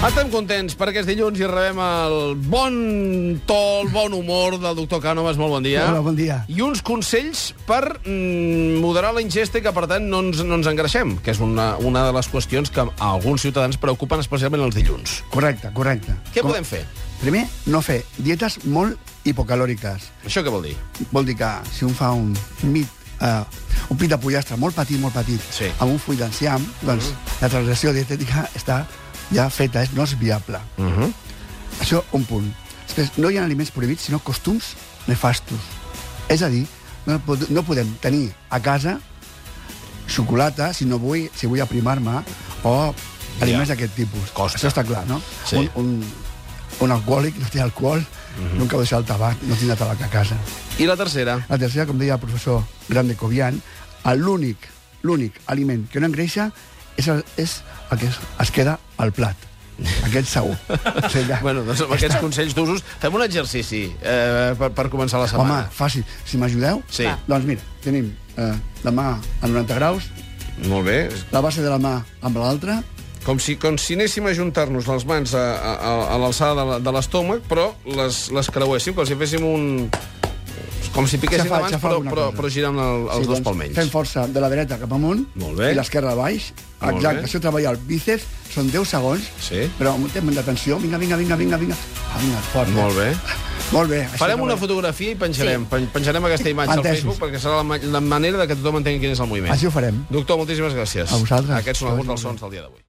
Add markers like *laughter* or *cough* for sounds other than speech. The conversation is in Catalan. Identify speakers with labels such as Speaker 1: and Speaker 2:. Speaker 1: Estem contents perquè és dilluns i rebem el bon to, el bon humor del doctor Cànoves. Molt bon dia.
Speaker 2: Hola, bon dia.
Speaker 1: I uns consells per mm, moderar la ingesta i que, per tant, no ens, no ens engreixem, que és una, una de les qüestions que a alguns ciutadans preocupen especialment els dilluns.
Speaker 2: Correcte, correcte.
Speaker 1: Què podem fer?
Speaker 2: Primer, no fer dietes molt hipocalòriques.
Speaker 1: Això què vol dir?
Speaker 2: Vol dir que si un fa un mit, eh, un pit de pollastre molt petit, molt petit,
Speaker 1: Sí. Mhm.
Speaker 2: amb un full d'enciam, doncs la transgressió dietètica està ja feta, és, no és viable.
Speaker 1: Mhm.
Speaker 2: Això, un punt. Després, no hi ha aliments prohibits, sinó costums nefastos. És a dir, no, pod- no podem tenir a casa xocolata si no vull, si vull aprimar-me, o aliments
Speaker 1: Ja.
Speaker 2: d'aquest tipus.
Speaker 1: Costa.
Speaker 2: Això està clar, no?
Speaker 1: Sí.
Speaker 2: Un, un, un alcohòlic no té alcohol,
Speaker 1: Mhm.
Speaker 2: nunca va deixar el tabac, no tindrà tabac a casa.
Speaker 1: I la tercera?
Speaker 2: La tercera, com deia el professor Grande Cobian, l'únic, l'únic aliment que no engreixa és el, és el que es, es queda al plat. Aquest
Speaker 1: *laughs*
Speaker 2: segur. O sigui que-
Speaker 1: Bueno, doncs amb aquests consells d'usos fem un exercici eh, per, per començar la
Speaker 2: Home,
Speaker 1: setmana.
Speaker 2: fàcil. Si m'ajudeu...
Speaker 1: Sí. Va.
Speaker 2: Doncs mira, tenim eh, la mà a 90 graus,
Speaker 1: Home. Molt bé.
Speaker 2: la base de la mà amb l'altra,
Speaker 1: Com si, com si anéssim a juntar-nos les mans a, a, a- a l'alçada de la- de l'estómac, però les, les creuéssim, com si féssim un... Com si piquéssim
Speaker 2: Xafar-
Speaker 1: de mans,
Speaker 2: xafar
Speaker 1: però,
Speaker 2: alguna
Speaker 1: però,
Speaker 2: cosa.
Speaker 1: però girant el, els dos pel menys.
Speaker 2: doncs, Fem força de la dreta cap amunt
Speaker 1: Molt bé.
Speaker 2: i l'esquerra baix.
Speaker 1: Molt
Speaker 2: Exacte,
Speaker 1: bé.
Speaker 2: això treballa el bíceps, són 10 segons,
Speaker 1: Sí.
Speaker 2: però amb un temps d'atenció, vinga, vinga, vinga, vinga, vinga. Ah, vinga, fort. eh?
Speaker 1: Molt bé.
Speaker 2: Molt bé. això
Speaker 1: Farem una
Speaker 2: treballa.
Speaker 1: fotografia i penjarem, sí. penjarem aquesta imatge al
Speaker 2: Entesos.
Speaker 1: Facebook perquè serà la, ma- la manera de que tothom entengui quin és el moviment.
Speaker 2: Així ho farem.
Speaker 1: Doctor, moltíssimes gràcies.
Speaker 2: A vosaltres.
Speaker 1: Aquests són alguns dels sons del dia d'avui.